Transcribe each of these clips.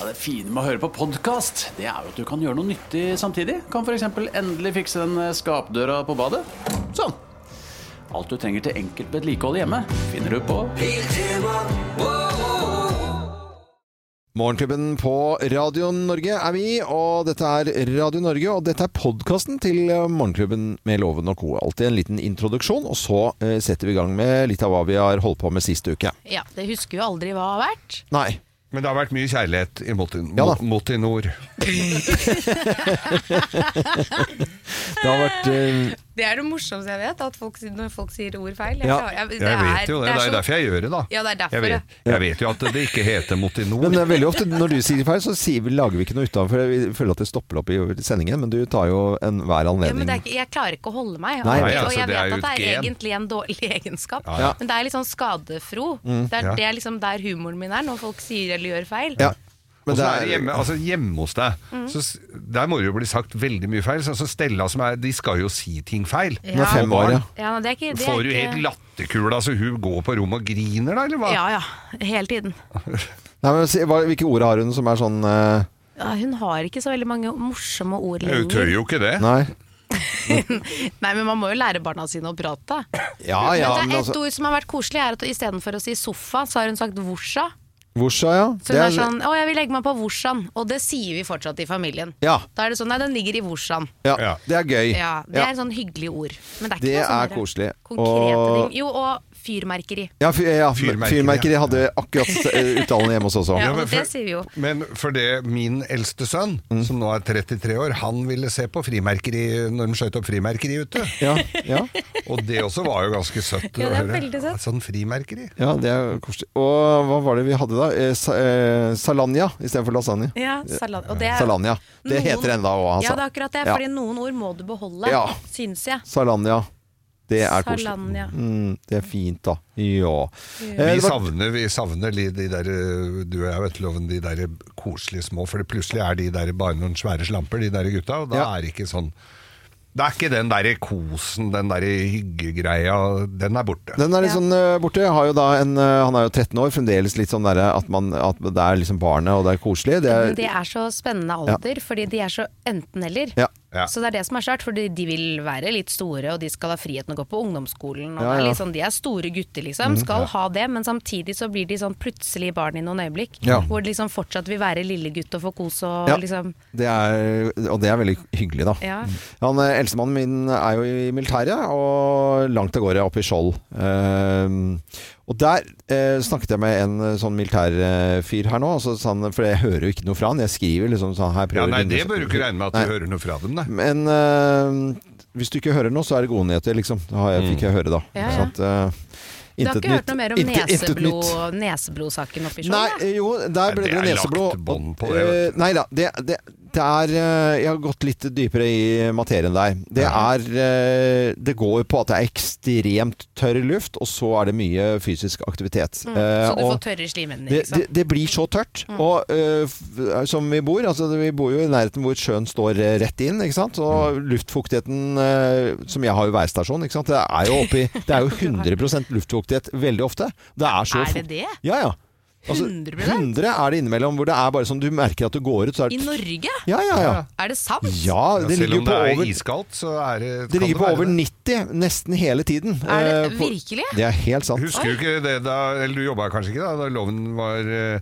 Ja, det fine med å høre på podkast, det er jo at du kan gjøre noe nyttig samtidig. Kan f.eks. endelig fikse den eh, skapdøra på badet. Sånn. Alt du trenger til enkelt vedlikehold hjemme, finner du på Morgenklubben på Radio Norge er vi, og dette er Radio Norge. Og dette er podkasten til eh, Morgenklubben med Loven og co. Alltid en liten introduksjon, og så eh, setter vi i gang med litt av hva vi har holdt på med sist uke. Ja, Det husker jo aldri hva har vært. Nei. Men det har vært mye kjærlighet i Motin, Ja da. Motinor. Det har vært eh, Det er det morsomste jeg vet, at folk, når folk sier ord feil. Jeg, Ja, klarer- jeg, Jeg vet jo det, det er så- derfor jeg gjør det, da. Ja, det er derfor, jeg vet, jeg vet jo at det ikke heter Motinor. Men eh, det er veldig ofte når du sier feil, så sier vi, lager vi ikke noe ut av det. For vi føler at det stopper opp i sendingen, men du tar jo enhver Ja, men anledning. det er ikke, jeg klarer ikke å holde meg. Nei, og, nei, og altså, jeg det er vet jo at det er et gen. egentlig en dårlig egenskap, ja. men det er litt sånn skadefro. det er Mm. ja. det er liksom der humoren min er, når folk sier eller gjør feil. Ja. Men Og så det er det er- hjemme, altså hjemme hos deg. Så, s- der må det jo bli sagt veldig mye feil. Sånn som Stella som er De skal jo si ting feil. Hun er fem år, ja. Ja, det er ikke, det er Får du ikke- helt latterkula så hun går på rommet og griner, da, eller hva? Ja, ja. Hele tiden. Nei, men, si- hva, hvilke ord har hun som er sånn eh, Ja, hun har ikke så veldig mange morsomme ord Hun tør lenger. jo ikke det. Nei. Nei, men man må jo lære barna sine å prate. Ja Ah, ja, men men det er et altså ord som har vært koselig, er at istedenfor å si sofa, så har hun sagt vorsa. Hvorsa, ja. Så hun er, sånn 'Å, jeg vil legge meg på vorsan', og det sier vi fortsatt i familien. Ja. Da er det sånn 'Nei, den ligger i vorsan'. ja. Ja. Det er gøy. Ja, det Ja. er sånn hyggelige ord. Men det er, Det ikke noe er sånn koselig. Konkrete Og- ting. Jo, og fyrmerkeri. Ja, fyr, ja Fyrmerkeri, fyrmerkeri, ja. hadde akkurat eh, uttalen hjemme hos oss også. Ja, Ja, men og det sier vi jo. Men for det min eldste sønn, Mm. som nå er 33 år, han ville se på frimerkeri når de skjøt opp frimerkeri ute. Ja, ja, Og det også var jo ganske søtt. Ja, det er å høre. veldig søtt. Sånn frimerkeri. ja, det er jo koselig. Og hva var det vi hadde da? Eh, sa, eh, salanja istedenfor lasagne. Ja, salat. Og det er, Salanja. Det heter det enda òg, Ja, det altså. er akkurat det. Ja. Fordi noen ord må du beholde, Ja. syns jeg. Salanja. Det er koselig. Salanja. Mm, det er fint, da. Ja. Eh, Vi det var- savner, vi savner li- de der, eh, du og jeg vet loven, de der koselige små, for det plutselig er de der bare noen svære slamper, de der gutta, og da Ja. er det ikke sånn Det er ikke den der kosen, den der hyggegreia, den er borte. Den er litt sånn eh, borte. Jeg Har jo da en, eh, han er jo 13 år, fremdeles litt sånn derre at, man- at det er liksom barnet, og det er koselig. Det Men er, de er så spennende alder, fordi de er så enten-eller. Ja. Ja. Så det er det som er så rart, fordi de vil være litt store, og de skal ha friheten å gå på ungdomsskolen. Og det er Ja, ja. Mhm. litt sånn, de er store gutter, liksom. Skal ha det, men samtidig så blir de sånn plutselig barn i noen øyeblikk. Ja. Hvor de liksom fortsatt vil være lillegutt og få kos og Ja. liksom det er, og det er veldig hyggelig, da. Ja. Han, eh, Eldstemannen min er jo i militæret, og langt av gårde oppe i Skjold. Ehm, og der eh, snakket jeg med en eh, sånn militærfyr her nå, og så sa han, for jeg hører jo ikke noe fra han. Jeg skriver liksom sånn her Ja, prøver nei, å- det bør du ikke regne med at Nei. du hører noe fra dem, nei. Men eh, hvis du ikke hører noe, så er det gode nyheter, liksom. Det har Mm. jeg, fikk jeg høre, da. Ja, ja. Sånn at, eh, Du har intet ikke hørt noe nytt. mer om Intet- intet neseblod, nytt. neseblodsaken oppi Nei, eh, Skjold? da? jo, der ble det det er lagt neseblod. bånd på det, vet Eh, nei da, det, det, det er eh, Jeg har gått litt dypere i materien der. Det er eh, Det går på at det er ekstremt tørr luft, og så er det mye fysisk aktivitet. Eh, Mm. Så du får og tørre slimhinner, det, liksom. det, det blir så tørt. Mm. Og eh, f- som vi bor altså Vi bor jo i nærheten hvor sjøen står eh, rett inn. Ikke sant? Og Mm. luftfuktigheten eh, Som jeg har jo værstasjon, ikke sant? Det er jo oppi Det er jo 100 luftfuktighet veldig ofte. Det er så Er det fukt- det? ja, ja. altså, 100%? 100 er det innimellom, hvor det er bare sånn du merker at du går ut, så er I det Norge? Ja, ja, ja. Er det sant? ja Ja, det Selv ligger om på det er over, iskaldt, så er det, det kan ligger på være over det. 90 nesten hele tiden. Er det Eh, på- virkelig? Det er helt sant. Husker du ikke det da Eller du jobba kanskje ikke da Da loven var, eh,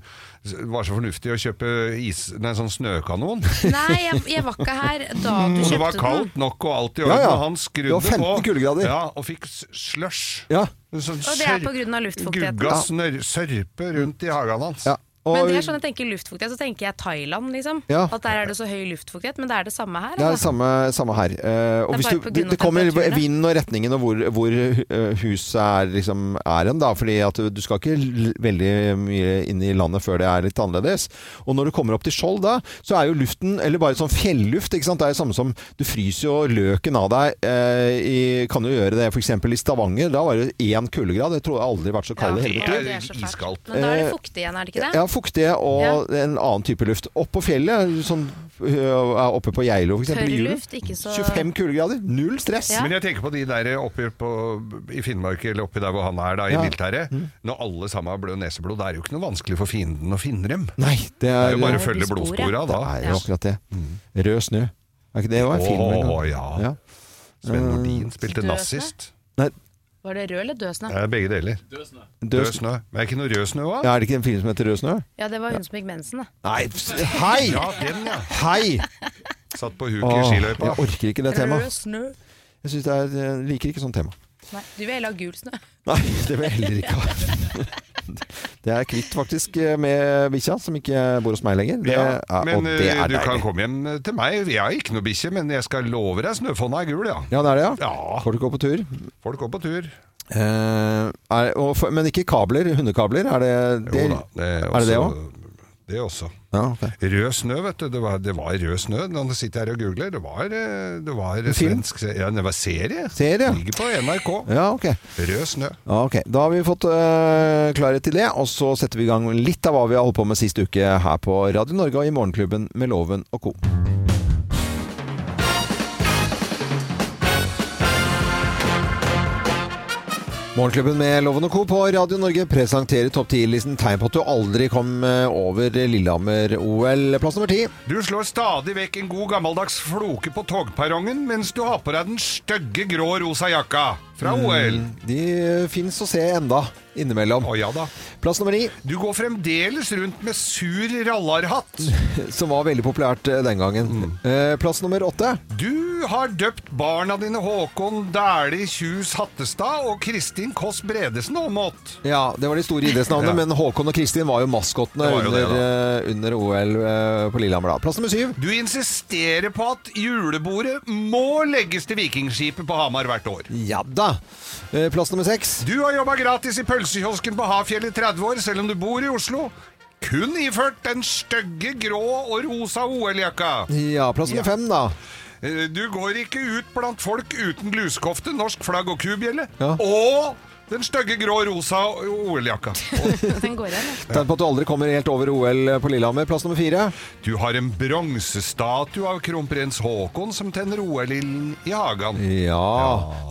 var så fornuftig å kjøpe is, nei, sånn snøkanon? Nei, jeg, jeg var ikke her da du Og det kjøpte var den. kaldt nok og alt i Ja, orden. ja. Og han skrudde Det var 15 på kuldegrader. Ja, og fikk s- slush. Ja. Sånn Og det er på sørp- grunn av luftfuktigheten. Gugga snør, sørpe rundt i hagen hans. Ja. Og, Men det er sånn jeg tenker luftfuktighet, så tenker jeg Thailand, liksom. Ja. At der er det så høy luftfuktighet, men det er det samme her. det er det altså. samme, samme her. Eh, og Det er hvis bare du, på det, grunn av det kommer temperaturen, da. vinden og retningen og hvor, hvor eh, huset er, liksom, er hen, da. Fordi at du skal ikke l- veldig mye inn i landet før det er litt annerledes. Og når du kommer opp til Skjold da, så er jo luften, eller bare sånn fjelluft, ikke sant. Det er jo samme som du fryser jo løken av deg. eh, i, kan du gjøre det f.eks. i Stavanger? Da var det én kuldegrad. Det tror jeg aldri har vært så kaldt i Ja, hele mitt Det det er er så fælt. iskaldt. Men da er det fuktig igjen, er det ikke det? Eh, ja, fuktige og en annen type luft. Opp på fjellet, sånn, ø, er oppe på Geilo f.eks. Tørr i julen. luft, ikke så- 25 kuldegrader, null stress. Ja. Men jeg tenker på de der oppe på, i Finnmark, eller oppi der hvor han er da, i Ja. Mm. militæret. Når alle sammen har blød neseblod, det er jo ikke noe vanskelig for fienden å finne dem. Nei, det Det er, er jo bare Nei, altså. å følge de sporet. blodspora da. Det er jo akkurat det. Rød snø. Er ikke det jo en film? Åh, eller noe? ja. ja. Mm. Sven Nordin spilte Død snø? nazist. Nei, Var det rød eller død snø? Det er begge deler. død snø. Rød snø. Men er det ikke noe rød snø òg? Ja, er det ikke en film som heter Rød snø? Ja, det var hun som fikk mensen, da. Nei, s- hei! Ja, den, ja. Hei! Satt på huk i Åh, skiløypa. jeg orker ikke det Rød temaet. snø. Jeg, synes det er, jeg liker ikke sånt tema. Nei, du vil heller ha gul snø. Nei, det vil jeg heller ikke ha. Det er jeg kvitt faktisk eh, med bikkja, som ikke bor hos meg lenger. Det, Ja, ja, men og det eh, er du kan deilig. komme hjem eh, til meg. Jeg har ikke noe bikkje, men jeg skal love deg snøfonna er gul, ja. Ja, det er det, ja. Ja. Får du gå på tur? Folk går på tur. Eh, er, og, for- men ikke kabler? Hundekabler? Er det det? Jo da, er det det òg? Det også. Ja, ok. Rød snø, vet du. Det var, det var rød snø. Nå sitter jeg her og googler. Det var, eh, det var film? svensk se- ja, det var serie. Serie? Ligger på NRK. Ja, ok. Rød snø. Ja, ok. Da har vi fått øh, klarhet i det, og så setter vi i gang litt av hva vi har holdt på med sist uke her på Radio Norge og i Morgenklubben med Loven og co. Morgenklubben med Loven og Co. på Radio Norge presenterer topp 10-listen tegn på at du aldri kom øh, over Lillehammer-OL. Plass nummer ti. Du slår stadig vekk en god gammeldags floke på togperrongen mens du har på deg den stygge grå rosa jakka fra OL. De øh, fins å se enda innimellom. Å ja da. Plass nummer ni, Du går fremdeles rundt med sur rallarhatt. som var veldig populært øh, den gangen. Mm. Eh, Plass nummer åtte. Du har døpt barna dine Håkon Dæhlie Kjus Hattestad og Kristin Kåss Bredesen Aamodt. Ja, det var de store idrettsnavnene, Ja. men Håkon og Kristin var jo maskottene Det var jo det, under, eh, under OL eh, på Lillehammer. da. Plass nummer syv. Du insisterer på at julebordet må legges til Vikingskipet på Hamar hvert år. Ja da. Eh, Plass nummer seks. Du har jobba gratis i pølsekiosken på Hafjell i 30 år, selv om du bor i Oslo. Kun iført den stygge grå og rosa OL-jakka. Ja, plass nummer fem, da. Eh, Du går ikke ut blant folk uten lusekofte, norsk flagg og kubjelle. Ja. Og den stygge grå rosa OL-jakka. Den går igjen. ja. Tegn på at du aldri kommer helt over OL på Lillehammer. Plass nummer fire. Du har en bronsestatue av kronprins Haakon som tenner OL-ilden i hagen. Ja.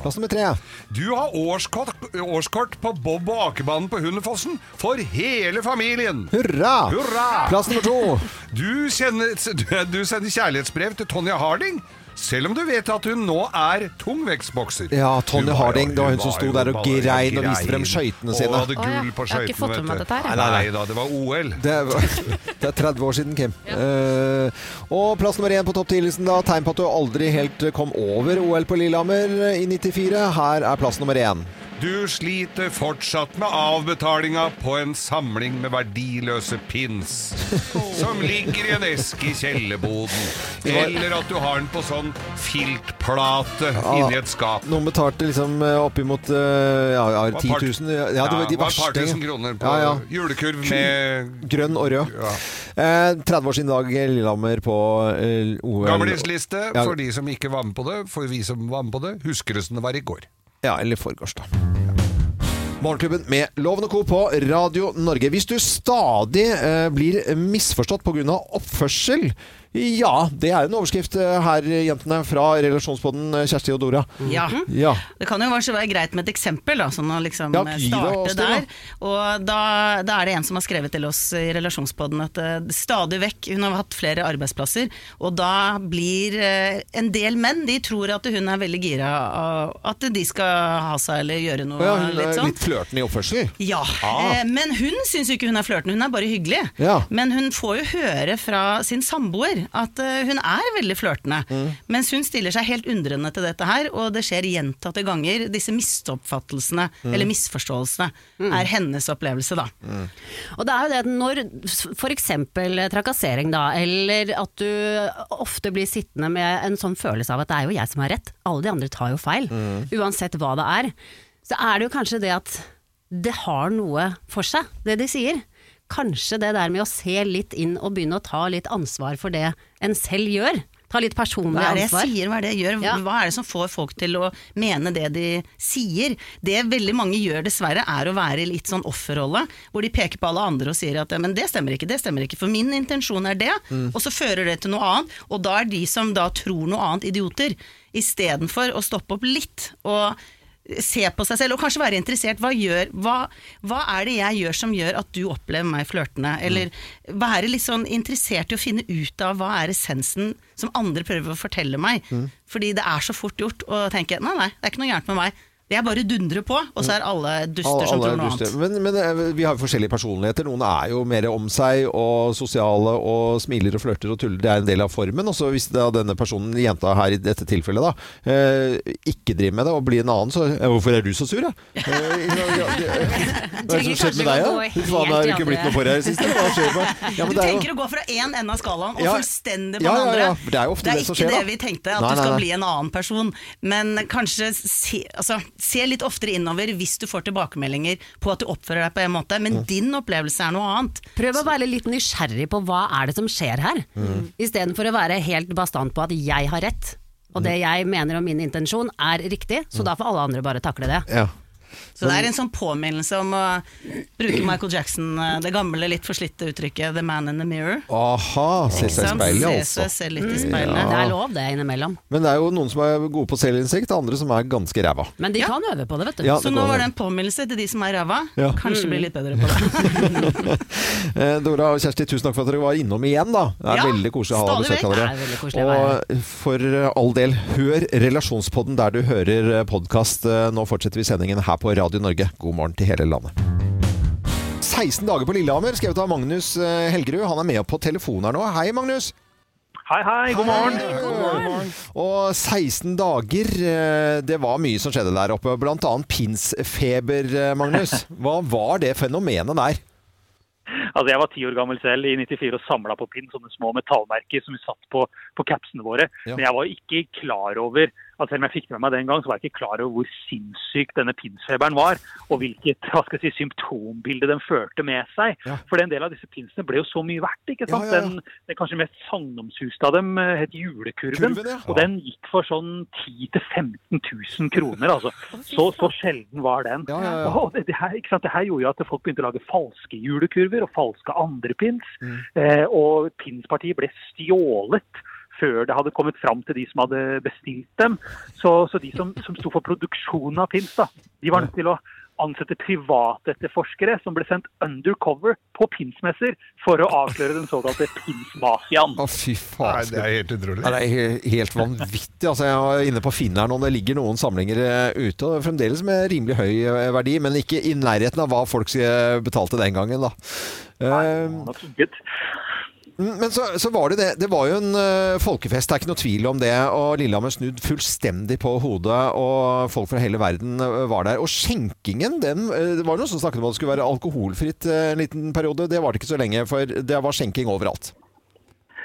Plass nummer tre. Du har årskort, årskort på bob- og akebanen på Hundefossen for hele familien. Hurra! Hurra! Plass nummer to. Du, kjenner, du, du sender kjærlighetsbrev til Tonja Harding, selv om du vet at hun nå er tungvektsbokser. Ja, Tonje Hun var jo- Harding, det var hun som var sto jo der og bare grein og viste frem grein. skøytene Og sine. hadde Å ja, gull på jeg har ikke skøytene, fått med meg vet dette du. her. Nei, nei da, det var OL. Det er, det er 30 år siden, Kim. Eh, og plass nummer én på topp 10-listen, da. Tegn på at du aldri helt kom over OL på Lillehammer i 94. Her er plass nummer én. Du sliter fortsatt med avbetalinga på en samling med verdiløse pins som ligger i en eske i kjellerboden. Eller at du har den på sånn filtplate inni et skap. Noen betalte liksom eh, oppimot eh, ja, ja, Var 10 part- 000 Ja, det var de Ja, var et par verste. tusen kroner på Ja, ja. julekurv med Grønn og rød. Ja. Eh, 30 år siden i dag, Lillehammer på eh, OL. Gamlisliste Ja. for de som ikke var med på det. For vi som var med på det, husker det som det var i går. Ja, eller forgårs, da. Morgenklubben med Loven og Co. på Radio Norge. Hvis du stadig eh, blir misforstått pga. oppførsel Ja, det er en overskrift eh, her, jentene, fra relasjonsboden eh, Kjersti og Dora. Ja. Ja. Det kan jo kanskje være greit med et eksempel, da, sånn å liksom Ja, eh, gi det oss starte det, der. Og da, da er det en som har skrevet til oss i relasjonspodden at eh, stadig vekk, hun har hatt flere arbeidsplasser, og da blir eh, en del menn, de tror at hun er veldig gira av at de skal ha seg eller gjøre noe Og ja, hun litt er sånn. litt flørtende i oppførsel. Ja, Ah. eh, men hun syns jo ikke hun er flørtende, hun er bare hyggelig. Ja. Men hun får jo høre fra sin samboer at eh, hun er veldig flørtende. Mm. Mens hun stiller seg helt undrende til dette her, og det skjer gjentatte ganger. Disse misoppfattelsene, Mm. eller misforståelsene, er hennes opplevelse, da. Og det er jo det at når f.eks. trakassering, da, eller at du ofte blir sittende med en sånn følelse av at det er jo jeg som har rett, alle de andre tar jo feil, Mm. uansett hva det er, så er det jo kanskje det at det har noe for seg, det de sier. Kanskje det der med å se litt inn og begynne å ta litt ansvar for det en selv gjør. Ta litt personlig Hva er det jeg ansvar. sier, hva er det jeg gjør? Ja. Hva er det som får folk til å mene det de sier? Det veldig mange gjør dessverre, er å være i litt sånn offerrolle, hvor de peker på alle andre og sier at ja, men det stemmer ikke, det stemmer ikke, for min intensjon er det, og så fører det til noe annet, og da er de som da tror noe annet, idioter, istedenfor å stoppe opp litt og se på seg selv, og kanskje være interessert. Hva, gjør, hva, hva er det jeg gjør som gjør at du opplever meg flørtende? Eller være litt sånn interessert i å finne ut av hva er essensen som andre prøver å fortelle meg. Mm. Fordi det er så fort gjort å tenke nei, nei, det er ikke noe gærent med meg. Jeg bare dundrer på, og så er alle duster Alle- som tror alle noe er annet. duster. Men, men eh, vi har jo forskjellige personligheter. Noen er jo mer om seg og sosiale og smiler og flørter og tuller. Det er en del av formen. Og så hvis da denne personen, jenta her i dette tilfellet, da, eh, ikke driver med det og blir en annen, så eh, Hvorfor er du så sur, da? Eh, ja, det- Hva er det som skjedde med deg, da? Trenger kanskje å gå Fy faen, helt det har i jo ikke blitt andre- noe for deg i det siste. Hva skjer med ja, men Du det er jo- tenker å gå fra én ende av skalaen og Ja. fullstendig på Ja, ja, den andre. ja, for det er jo ofte det som skjer, ikke da. det vi tenkte, at Nei, du skal nei, nei. bli en annen person. Men kanskje se, altså, se litt oftere innover hvis du får tilbakemeldinger på at du oppfører deg på en måte, men din opplevelse er noe annet. Prøv å være litt nysgjerrig på hva er det som skjer her, Mm. istedenfor å være helt bastant på at jeg har rett. Og Mm. det jeg mener om min intensjon er riktig, så da får alle andre bare takle det. ja. Så det er en sånn påminnelse om å bruke Michael Jackson, eh, det gamle, litt forslitte uttrykket 'the man in the mirror'. Aha, se seg i Sant? speilet, Se seg altså. selv litt i Men eh, Det speilet. er lov det innimellom. Men det er jo noen som er gode på selvinnsikt, andre som er ganske ræva. Men de kan øve på det, vet du. Ja, Så det nå går var an. det en påminnelse til de som er ræva. Ja. Kanskje bli litt bedre på det. Eh, Dora og Kjersti, tusen takk for at dere var innom igjen. da Det er Ja, veldig koselig å ha stadig besøk av vekk. dere. Det er veldig koselig å og for eh, all del, hør Relasjonspodden der du hører podkast. Nå fortsetter vi sendingen her på Radio Norge. God morgen til hele landet. 16 dager på Lillehammer, skrevet av Magnus eh, Helgerud. Han er med på telefonen her nå. Hei, Magnus. Hei, hei, god morgen. Og 16 dager, eh, det var mye som skjedde der oppe. Blant annet pinsfeber, eh, Magnus. Hva var det fenomenet der? Altså, jeg var ti år gammel selv i 94 og samla på pinn, sånne små metallmerker som vi satt på, på capsene våre. Ja. Men jeg var ikke klar over at selv om jeg fikk det med meg den gang, så var jeg ikke klar over hvor sinnssyk denne pinsfeberen var, og hvilket hva skal jeg si, symptombilde den førte med seg. Ja. For en del av disse pinsene ble jo så mye verdt. ikke sant? Ja, ja, ja. Den, den kanskje mest sagnomsuste av dem eh, het Julekurven. Kurven, ja. Og den gikk for sånn 10 000-15 000 kroner, altså. Så, så sjelden var den. Ja, ja, ja. Og det, det, her, ikke sant? det her gjorde jo at folk begynte å lage falske julekurver og falske andre pins. Eh, og pinspartiet ble stjålet før det hadde kommet fram til de som hadde bestilt dem. Så, så de som, som sto for produksjonen av pins, da, de var nødt til å ansette privatetterforskere som ble sendt undercover på pinsmesser for å avsløre den såkalte pinsmafiaen. Å, fy faen. Nei, det er helt Ja, utrolig. det er he- helt vanvittig. Altså, jeg var inne på Finn her nå. Det ligger noen samlinger eh, ute. og Fremdeles med rimelig høy eh, verdi, men ikke i nærheten av hva folk eh, betalte den gangen. Da. Eh, mm, Absolutt. Men så, så var det det. Det var jo en eh, folkefest, det er ikke noe tvil om det. Og Lillehammer snudd fullstendig på hodet, og folk fra hele verden eh, var der. Og skjenkingen, den eh, Det var noen som snakket om at det skulle være alkoholfritt eh, en liten periode. Det var det ikke så lenge, for det var skjenking overalt.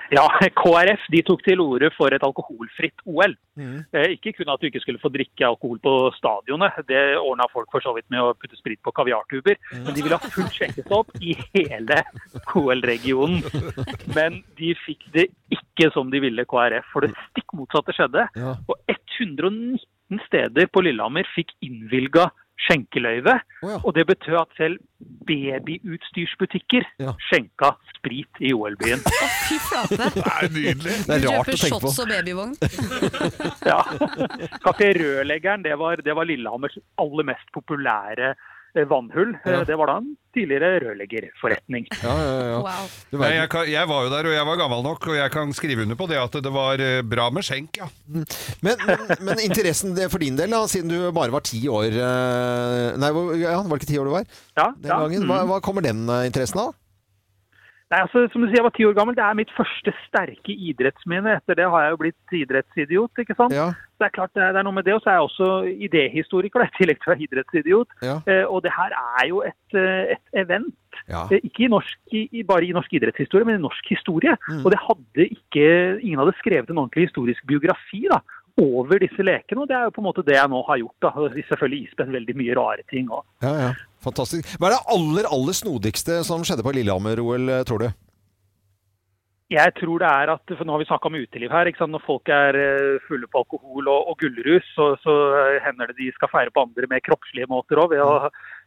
Ja, KrF de tok til orde for et alkoholfritt OL. Mm. Eh, Ikke kun at du ikke skulle få drikke alkohol på stadionet, det ordna folk for så vidt med å putte sprit på kaviartuber, Mm. men de ville ha fullt skjenkestopp i hele OL-regionen. Men de fikk det ikke som de ville, KrF, for det stikk motsatte skjedde. Ja. Og 119 steder på Lillehammer fikk innvilga skjenkeløyve, Å ja. og det betød at selv babyutstyrsbutikker Ja. skjenka sprit i OL-byen. Fy flate. Det er nydelig. Det er rart Kjøper å tenke på. shots og babyvogn. Ja. Kafé Rødleggeren det var, det var Lillehammers aller mest populære eh, vannhull. Eh, Ja. Det var da en tidligere rørleggerforretning. Ja, ja, ja. Wow. Du Nei, verden. jeg, kan, jeg var jo der, og jeg var gammel nok, og jeg kan skrive under på det at det var eh, bra med skjenk, ja. Men, men, men interessen det- for din del, da, siden du bare var ti år eh, Nei, hvor- ja, var det ikke ti år du var Ja, den ja. gangen? Mm. Hva, hva kommer den eh, interessen av? Nei, altså, som du sier, Jeg var ti år gammel. Det er mitt første sterke idrettsminne. Etter det har jeg jo blitt idrettsidiot. ikke sant? Ja, Det er klart det er, det er noe med det, og så er jeg også idéhistoriker, da, i tillegg til å være idrettsidiot. ja, Eh, og det her er jo et, eh, et event. ja. Eh, Ikke i norsk, i, i- bare i norsk idrettshistorie, men i norsk historie. Mm. Og det hadde ikke, ingen hadde skrevet en ordentlig historisk biografi da, over disse lekene. Og det er jo på en måte det jeg nå har gjort. da. Og Selvfølgelig isbent veldig mye rare ting. Og. ja, ja. Fantastisk. Hva er det aller, aller snodigste som skjedde på Lillehammer-OL, eh, tror du? Jeg tror det er at, for Nå har vi snakka om uteliv her. ikke sant? Når folk er eh, fulle på alkohol og, og gullrus, så, så eh, hender det de skal feire på andre med kroppslige måter òg, ved å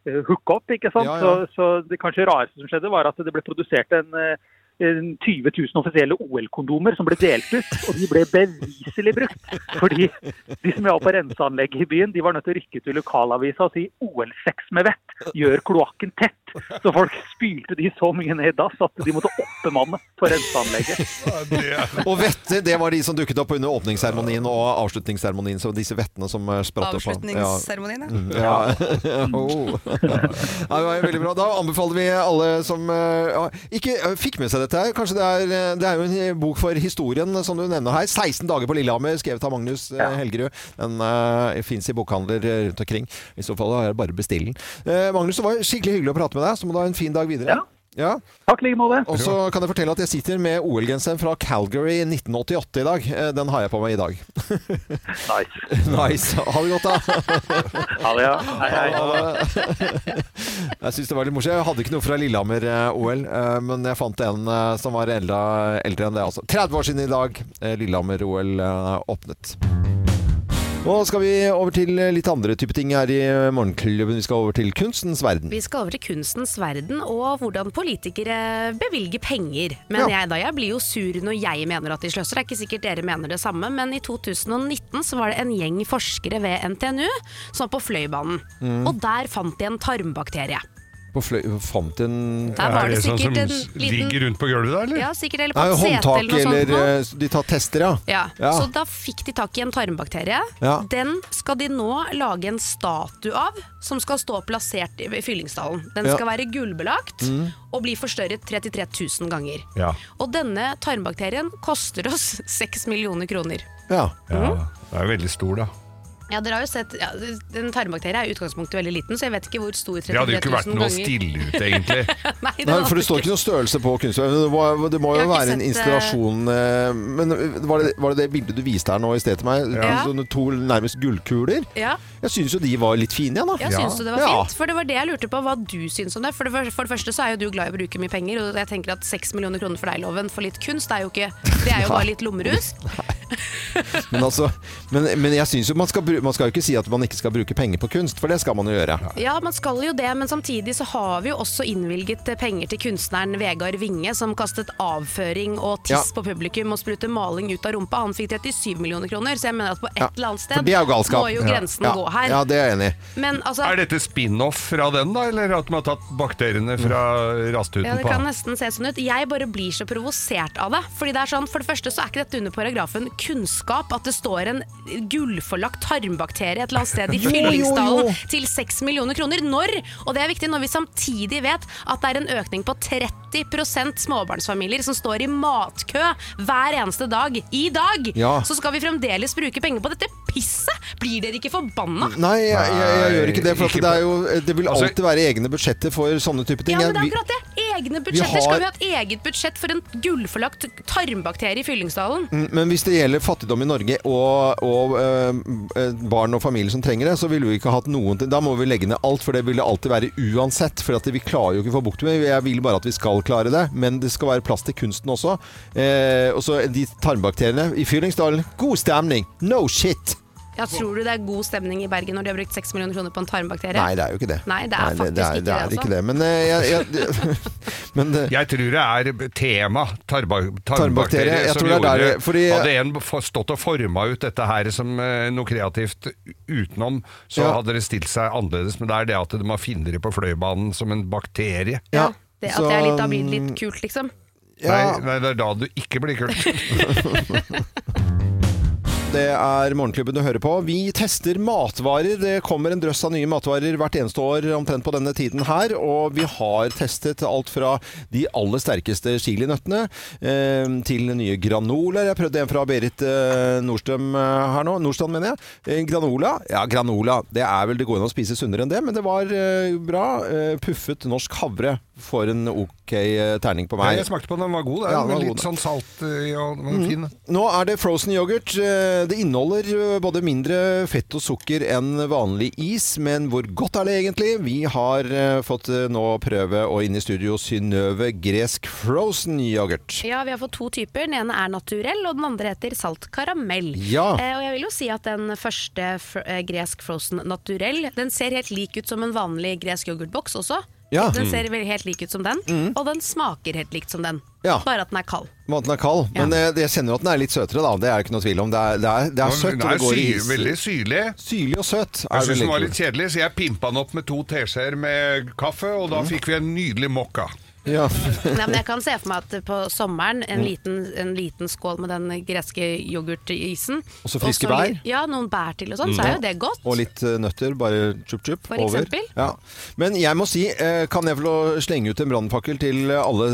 eh, hooke opp. ikke sant? Ja, ja. Så, så det kanskje rareste som skjedde, var at det ble produsert en, eh, en 20 000 offisielle OL-kondomer som ble delt ut. Og de ble beviselig brukt. Fordi de som hjalp på renseanlegget i byen, de var nødt til å rykke til lokalavisa og si OL-sex med vett, gjør kloakken tett. Så folk spylte de så mye ned i dass at de måtte oppbemanne på renseanlegget. Og vette, det var de som dukket opp under åpningsseremonien og avslutningsseremonien. Så disse vettene som eh, spratt opp. Ja. Avslutningsseremonien, ja. Ja. oh. ja, det var jo veldig bra. Da anbefaler vi alle som eh, ja, ikke eh, fikk med seg dette her. Kanskje det er, eh, det er jo en eh, bok for historien, eh, som du nevner her. '16 dager på Lillehammer', skrevet av Magnus eh, Helgerud. Den uh, fins i bokhandler eh, rundt omkring. I så fall er det bare å bestille den. Eh, Magnus, det var skikkelig hyggelig å prate med deg. Så må du ha en fin dag videre. Ja. Ja. Takk i like måte. Og så kan jeg fortelle at jeg sitter med OL-genseren fra Calgary 1988 i dag. Eh, Den har jeg på meg i dag. Nice. Nice. Ha det godt, da. Ha det, ja. Hei, hei. Jeg syns det var litt morsomt. Jeg hadde ikke noe fra eh, Lillehammer-OL, men jeg fant en eh, som var eldre, eldre enn det. Altså. 30 år siden i dag eh, Lillehammer-OL eh, åpnet. Nå skal vi over til eh, litt andre type ting her i eh, Morgenklubben. Vi skal over til kunstens verden. Vi skal over til kunstens verden og hvordan politikere bevilger penger. Men Ja. jeg, da, jeg blir jo sur når jeg mener at de sløser. Det er ikke sikkert dere mener det samme, men i 2019 så var det en gjeng forskere ved NTNU som var på Fløibanen. Mm. Og der fant de en tarmbakterie. På fløy... Fant en Nei, Der var er det det sånn som sikkert en liten ligger rundt på gulvet Mm. der, eller? ja, sikkert, eller på et sete håndtak eller noe sånt. eller nå. eh, De tar tester, ja. Ja. Ja. Så da fikk de tak i en tarmbakterie. Ja. Den skal de nå lage en statue av, som skal stå plassert i i Fyllingsdalen. Den Ja. skal være gullbelagt og bli forstørret 33 000 ganger. Ja. Og denne tarmbakterien koster oss 6 millioner kroner. ja. Mm. Ja, det er jo veldig stor, da. Ja, dere har jo sett, ja, En tarmbakterie er i utgangspunktet veldig liten, så jeg vet ikke hvor stor 33 000 Det hadde jo ikke vært noe å ganger stille ut, egentlig. Nei, det Nei, hadde for det står ikke- ikke noe størrelse på kunstverket. Det må, det må Jeg har jo ikke være en sett, eh, installasjon eh, Men var det, var det det bildet du viste her nå i sted til meg? Ja. Sånne to nærmest gullkuler? Ja. Jeg syns jo de var litt fine igjen, da. Ja, syns du det var Ja. fint? For det var det jeg lurte på, hva du syns om det. For det, fyr- for det første så er jo du glad i å bruke mye penger, og jeg tenker at seks millioner kroner for deg, Loven, for litt kunst, det er jo ikke Det er jo bare litt lommerus. Men, altså, men, men jeg syns jo man skal, bru- man skal jo ikke si at man ikke skal bruke penger på kunst, for det skal man jo gjøre. Ja, man skal jo det, men samtidig så har vi jo også innvilget eh, penger til kunstneren Vegard Winge, som kastet avføring og tiss Ja. på publikum og sprutte maling ut av rumpa. Han fikk 37 millioner kroner, så jeg mener at på et Ja, eller annet For sted det er jo galskap. må jo grensen ja. gå her. Ja, det er jeg enig i. Men altså Er dette spin-off fra den, da? Eller at de har tatt bakteriene fra rasthuten Ja, det på kan han? nesten se sånn ut. Jeg bare blir så provosert av det. Fordi det er sånn, For det første så er ikke dette under paragrafen kunnskap at det står en gullforlagt tarmbakterie et eller annet sted i Fyllingsdalen til 6 millioner kroner. Når? Og det er viktig når vi samtidig vet at det er en økning på 30 småbarnsfamilier som står i matkø hver eneste dag. I dag! Ja. Så skal vi fremdeles bruke penger på dette pisset! Blir dere ikke forbanna? Nei, jeg, jeg, jeg gjør ikke det. For at Ikke det, er jo, eh, det vil Altså- alltid være egne budsjetter for sånne type ting. Ja, men det er Vi- akkurat det. Egne budsjetter. har- Skal vi ha et eget budsjett for en gullforlagt tarmbakterie i Fyllingsdalen? Men hvis det gjelder fattigdom i Norge og, og eh, barn og familie som trenger det, så ville vi ikke hatt noen til. Da må vi legge ned alt, for det vil det alltid være uansett. For at vi klarer jo ikke å få bukt med det. Jeg vil bare at vi skal klare det. Men det skal være plass til kunsten også. Eh, og så de tarmbakteriene i Fyllingsdalen. God stemning! No shit! Ja, tror du det er god stemning i Bergen når de har brukt 6 millioner kroner på en tarmbakterie? Nei, det er jo ikke det. Nei, det er faktisk det er, ikke det. det, Er altså. ikke det. Men, eh, jeg, jeg, men eh, det, Jeg tror det er tema, tarba, Tarmbakterie, tarmbakterie, jeg som tror det er gjorde der, fordi- Hadde en for- stått og forma ut dette her som eh, noe kreativt utenom, så Ja. hadde det stilt seg annerledes. Men det er det at de har finnere på Fløibanen som en bakterie. Ja, ja. det, at Så, det er litt, da blir det litt kult, liksom. ja. Nei, nei, det er da du ikke blir kult. Det er Morgenklubben du hører på. Vi tester matvarer. Det kommer en drøss av nye matvarer hvert eneste år omtrent på denne tiden her. Og vi har testet alt fra de aller sterkeste chilinøttene eh, til nye granoler. Jeg prøvde en fra Berit eh, Nordstrøm eh, her nå. Nordstrand, mener jeg. Eh, granola. Ja, granola. Det er vel det går an å spise sunnere enn det, men det var eh, bra. Eh, puffet norsk havre får en ok eh, terning på meg. Jeg smakte på den, den var god. Det er Ja, den var litt god, da. sånn salt i, og den var fin. da. Nå er det frozen yoghurt. Eh, Det inneholder eh, både mindre fett og sukker enn vanlig is, men hvor godt er det egentlig? Vi har eh, fått eh, nå prøve å inn i studio Synnøve gresk frozen yoghurt. Ja, vi har fått to typer. Den ene er naturell, og den andre heter salt karamell. Ja. Eh, og jeg vil jo si at den første fr eh, gresk frozen naturell, den ser helt lik ut som en vanlig gresk yoghurtboks også. Ja. Mm. Den ser vel helt lik ut som den, og den smaker helt likt som den. Ja. Bare at den er kald. Maten er kald, men eh, jeg kjenner jo at den er litt søtere, da. Det er jo ikke noe tvil om. Det er, det er, det er søtt, Den og er det går i syr, is. veldig syrlig. Syrlig og søt. Jeg det syns den var vel litt kjedelig, så jeg pimpa den opp med to teskjeer med kaffe, og Mm. da fikk vi en nydelig mokka. Ja. Nei, men jeg kan se for meg at på sommeren Mm. en liten, en liten skål med den greske yoghurtisen. Og så og friske så li- bær. Mm. Ja, noen bær til og sånn, så er jo det godt. Og litt eh, nøtter, bare chup-chup For over. eksempel? Ja. Men jeg må si, eh, kan jeg få lov å slenge ut en brannfakkel til alle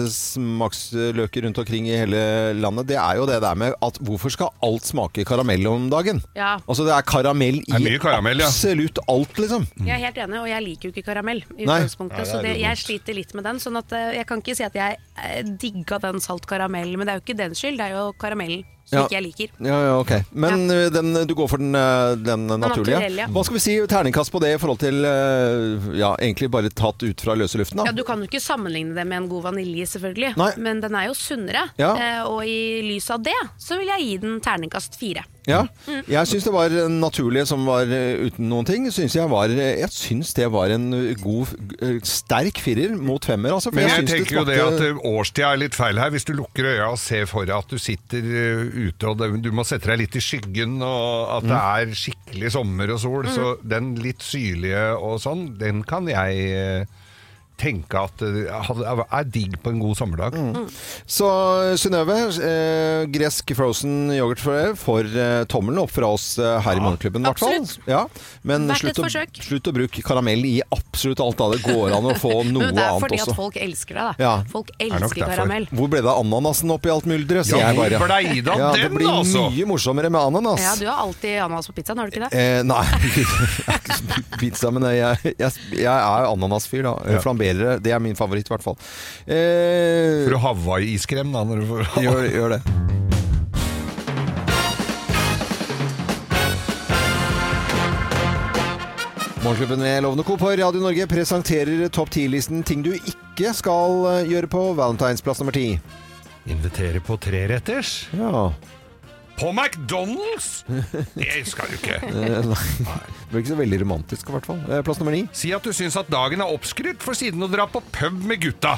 smaksløker rundt omkring i hele landet? Det er jo det der med at hvorfor skal alt smake karamell om dagen? Ja. Altså det er karamell i er mye karamell, ja. absolutt alt, liksom. Jeg er helt enig, og jeg liker jo ikke karamell i Nei. utgangspunktet, så det, jeg sliter litt med den. Sånn at eh, jeg kan ikke si at jeg eh, digga den salt karamellen, men det er jo ikke dens skyld, det er jo karamellen som Ja. ikke jeg liker. Ja, ja, ok. Men eh, den, du går for den, eh, den naturlige? naturelle, ja. Hva skal vi si terningkast på det i forhold til eh, Ja, egentlig bare tatt ut fra løse luften, da? Ja, Du kan jo ikke sammenligne det med en god vanilje, selvfølgelig, Nei. men den er jo sunnere. Ja. eh, Og i lys av det så vil jeg gi den terningkast fire. Ja. Mm. Jeg syns det var en naturlig som var eh, uten noen ting. Synes jeg, var, eh, jeg syns det var en god, eh, sterk firer mot femmer, altså. For Men jeg syns tenker jo det at eh, årstida er litt feil her. Hvis du lukker øya og ser for deg at du sitter eh, ute og det, du må sette deg litt i skyggen, og at det Mm. er skikkelig sommer og sol, så den litt syrlige og sånn, den kan jeg eh, tenke at eh, hadde- er digg på en god sommerdag. Mm. Så Synnøve, eh, gresk frozen yoghurt for deg får eh, tommelen opp fra oss eh, her i Morgenklubben, i hvert fall. absolutt. Ja. Men Verdt et slutt å, forsøk. slutt å bruke karamell i absolutt alt, da. Det går an å få noe Men det er annet fordi at også. folk elsker deg, da. Ja. Folk nok elsker derfor. karamell. Hvor ble det av ananasen oppi alt mylderet, sier Ja, jeg hvor bare. blei det av ja, det den, blir altså? mye morsommere med ananas. Ja, du har alltid ananas på pizzaen, har du ikke det? Eh, nei, jeg er ikke så pizza, men jeg, jeg, jeg er ananasfyr, da. Flamberere. Det er min favoritt, i hvert fall. Eh, For å Hawaii-iskrem, da. Når du får gjør, gjør det. Morgenklubben med Lovende Co. på Radio Norge presenterer topp 10-listen ting du ikke skal eh, gjøre på valentinsplass nummer 10. Invitere på treretters? Ja. På McDonald's? Det skal du ikke. Eh, nei. Det blir ikke så veldig romantisk, i hvert fall. Eh, Plass nummer 9. Si at du syns at dagen er oppskrytt, for siden å dra på pub med gutta.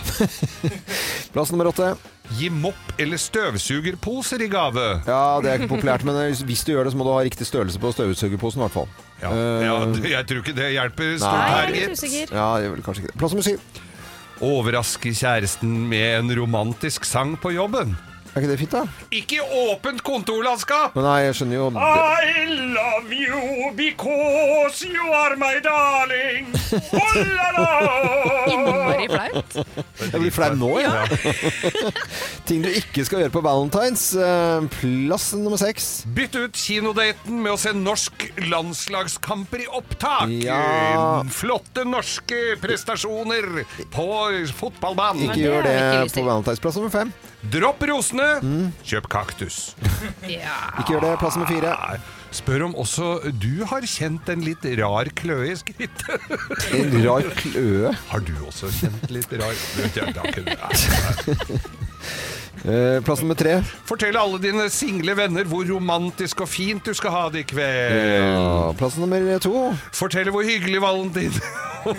Plass nummer 8. Gi mopp eller støvsugerposer i gave. Ja, det er ikke populært, men eh, hvis du gjør det, så må du ha riktig størrelse på støvsugerposen, i hvert fall. Ja, ja, det- jeg tror ikke det hjelper Nei, Eh. Nei, stort her, jeg er litt gitt. usikker. Ja, det gjør vel kanskje ikke det. Plass nummer syv. Overraske kjæresten med en romantisk sang på jobben. Er ikke det fint, da? Ikke i åpent kontorlandskap! Men nei, jeg skjønner jo I love you because you are my darling. Oh, la, la. Innmari flaut. Jeg blir flau nå, jeg. Ting du ikke skal gjøre på valentines. Eh, Plass nummer seks. Mm. Bytt ut kinodaten med å se norsk landslagskamper i opptak. Ja. Flotte norske prestasjoner på fotballbanen. Ikke det gjør har jeg ikke det lyst på til. valentines. Plass nummer fem. Dropp rosene, Mm. kjøp kaktus. Ikke gjør det. Plass nummer fire. Ah. Spør om også du har kjent en litt rar kløe i skrittet. En rar kløe. Har du også kjent litt rar Vet jeg, da kunne- Eh, Plass nummer tre. Fortell alle dine single venner hvor romantisk og fint du skal ha det i kveld. Ja, Ah, Plass nummer to. Fortell hvor hyggelig valentin... Hvor,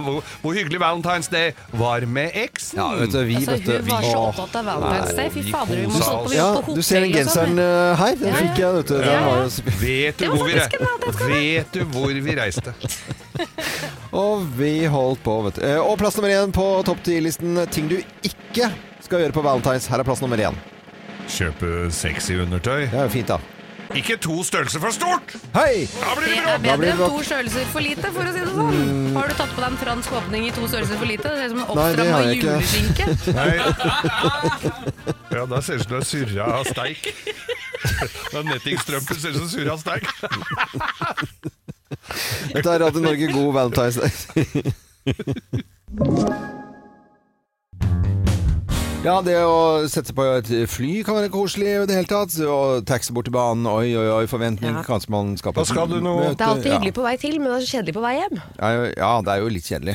hvor, hvor hyggelig Valentine's Day var med eksen. Ja, vet du, vi, Altså, vet du, hun var så Åh. opptatt av Valentine's Day. Fy vi fader, hun må kosa stå på, oss. vi var Ja, på du ser hotell og sånn. den genseren eh, her. Den Ja, ja. fikk jeg, vet du. Den var jo Vet du, Det var hvor vi, faktisk en re- vet du hvor vi reiste? Og vi holdt på, vet du. Eh, Og plass nummer én på topp 10-listen ting du ikke skal gjøre på Valentine's. Her er plass nummer én. Kjøpe sexy undertøy. Det er jo fint, da. Ikke to størrelser for stort! Hei! Da blir Det det er bedre enn blir det Mm. bråk! to størrelser for lite, for å si det sånn. Har du tatt på deg en fransk åpning i to størrelser for lite? Det ser ut som en Nei, det oppstramma har jeg ikke. juleskinke. Nei. Ja, da ser det ut som du er surra av steik. Da nettingstrømpen ser ut som surra av steik. Dette er Radio Norge, god Valentine's Day. Ja, det å sette seg på et fly kan være koselig i det hele tatt. Og taxi bort til banen, oi, oi, oi, forventning. Ja. Kanskje man skal på Da skal du noe. Det er alltid hyggelig på vei til, men det er så kjedelig på vei hjem. Ja, ja, ja, det er jo litt kjedelig.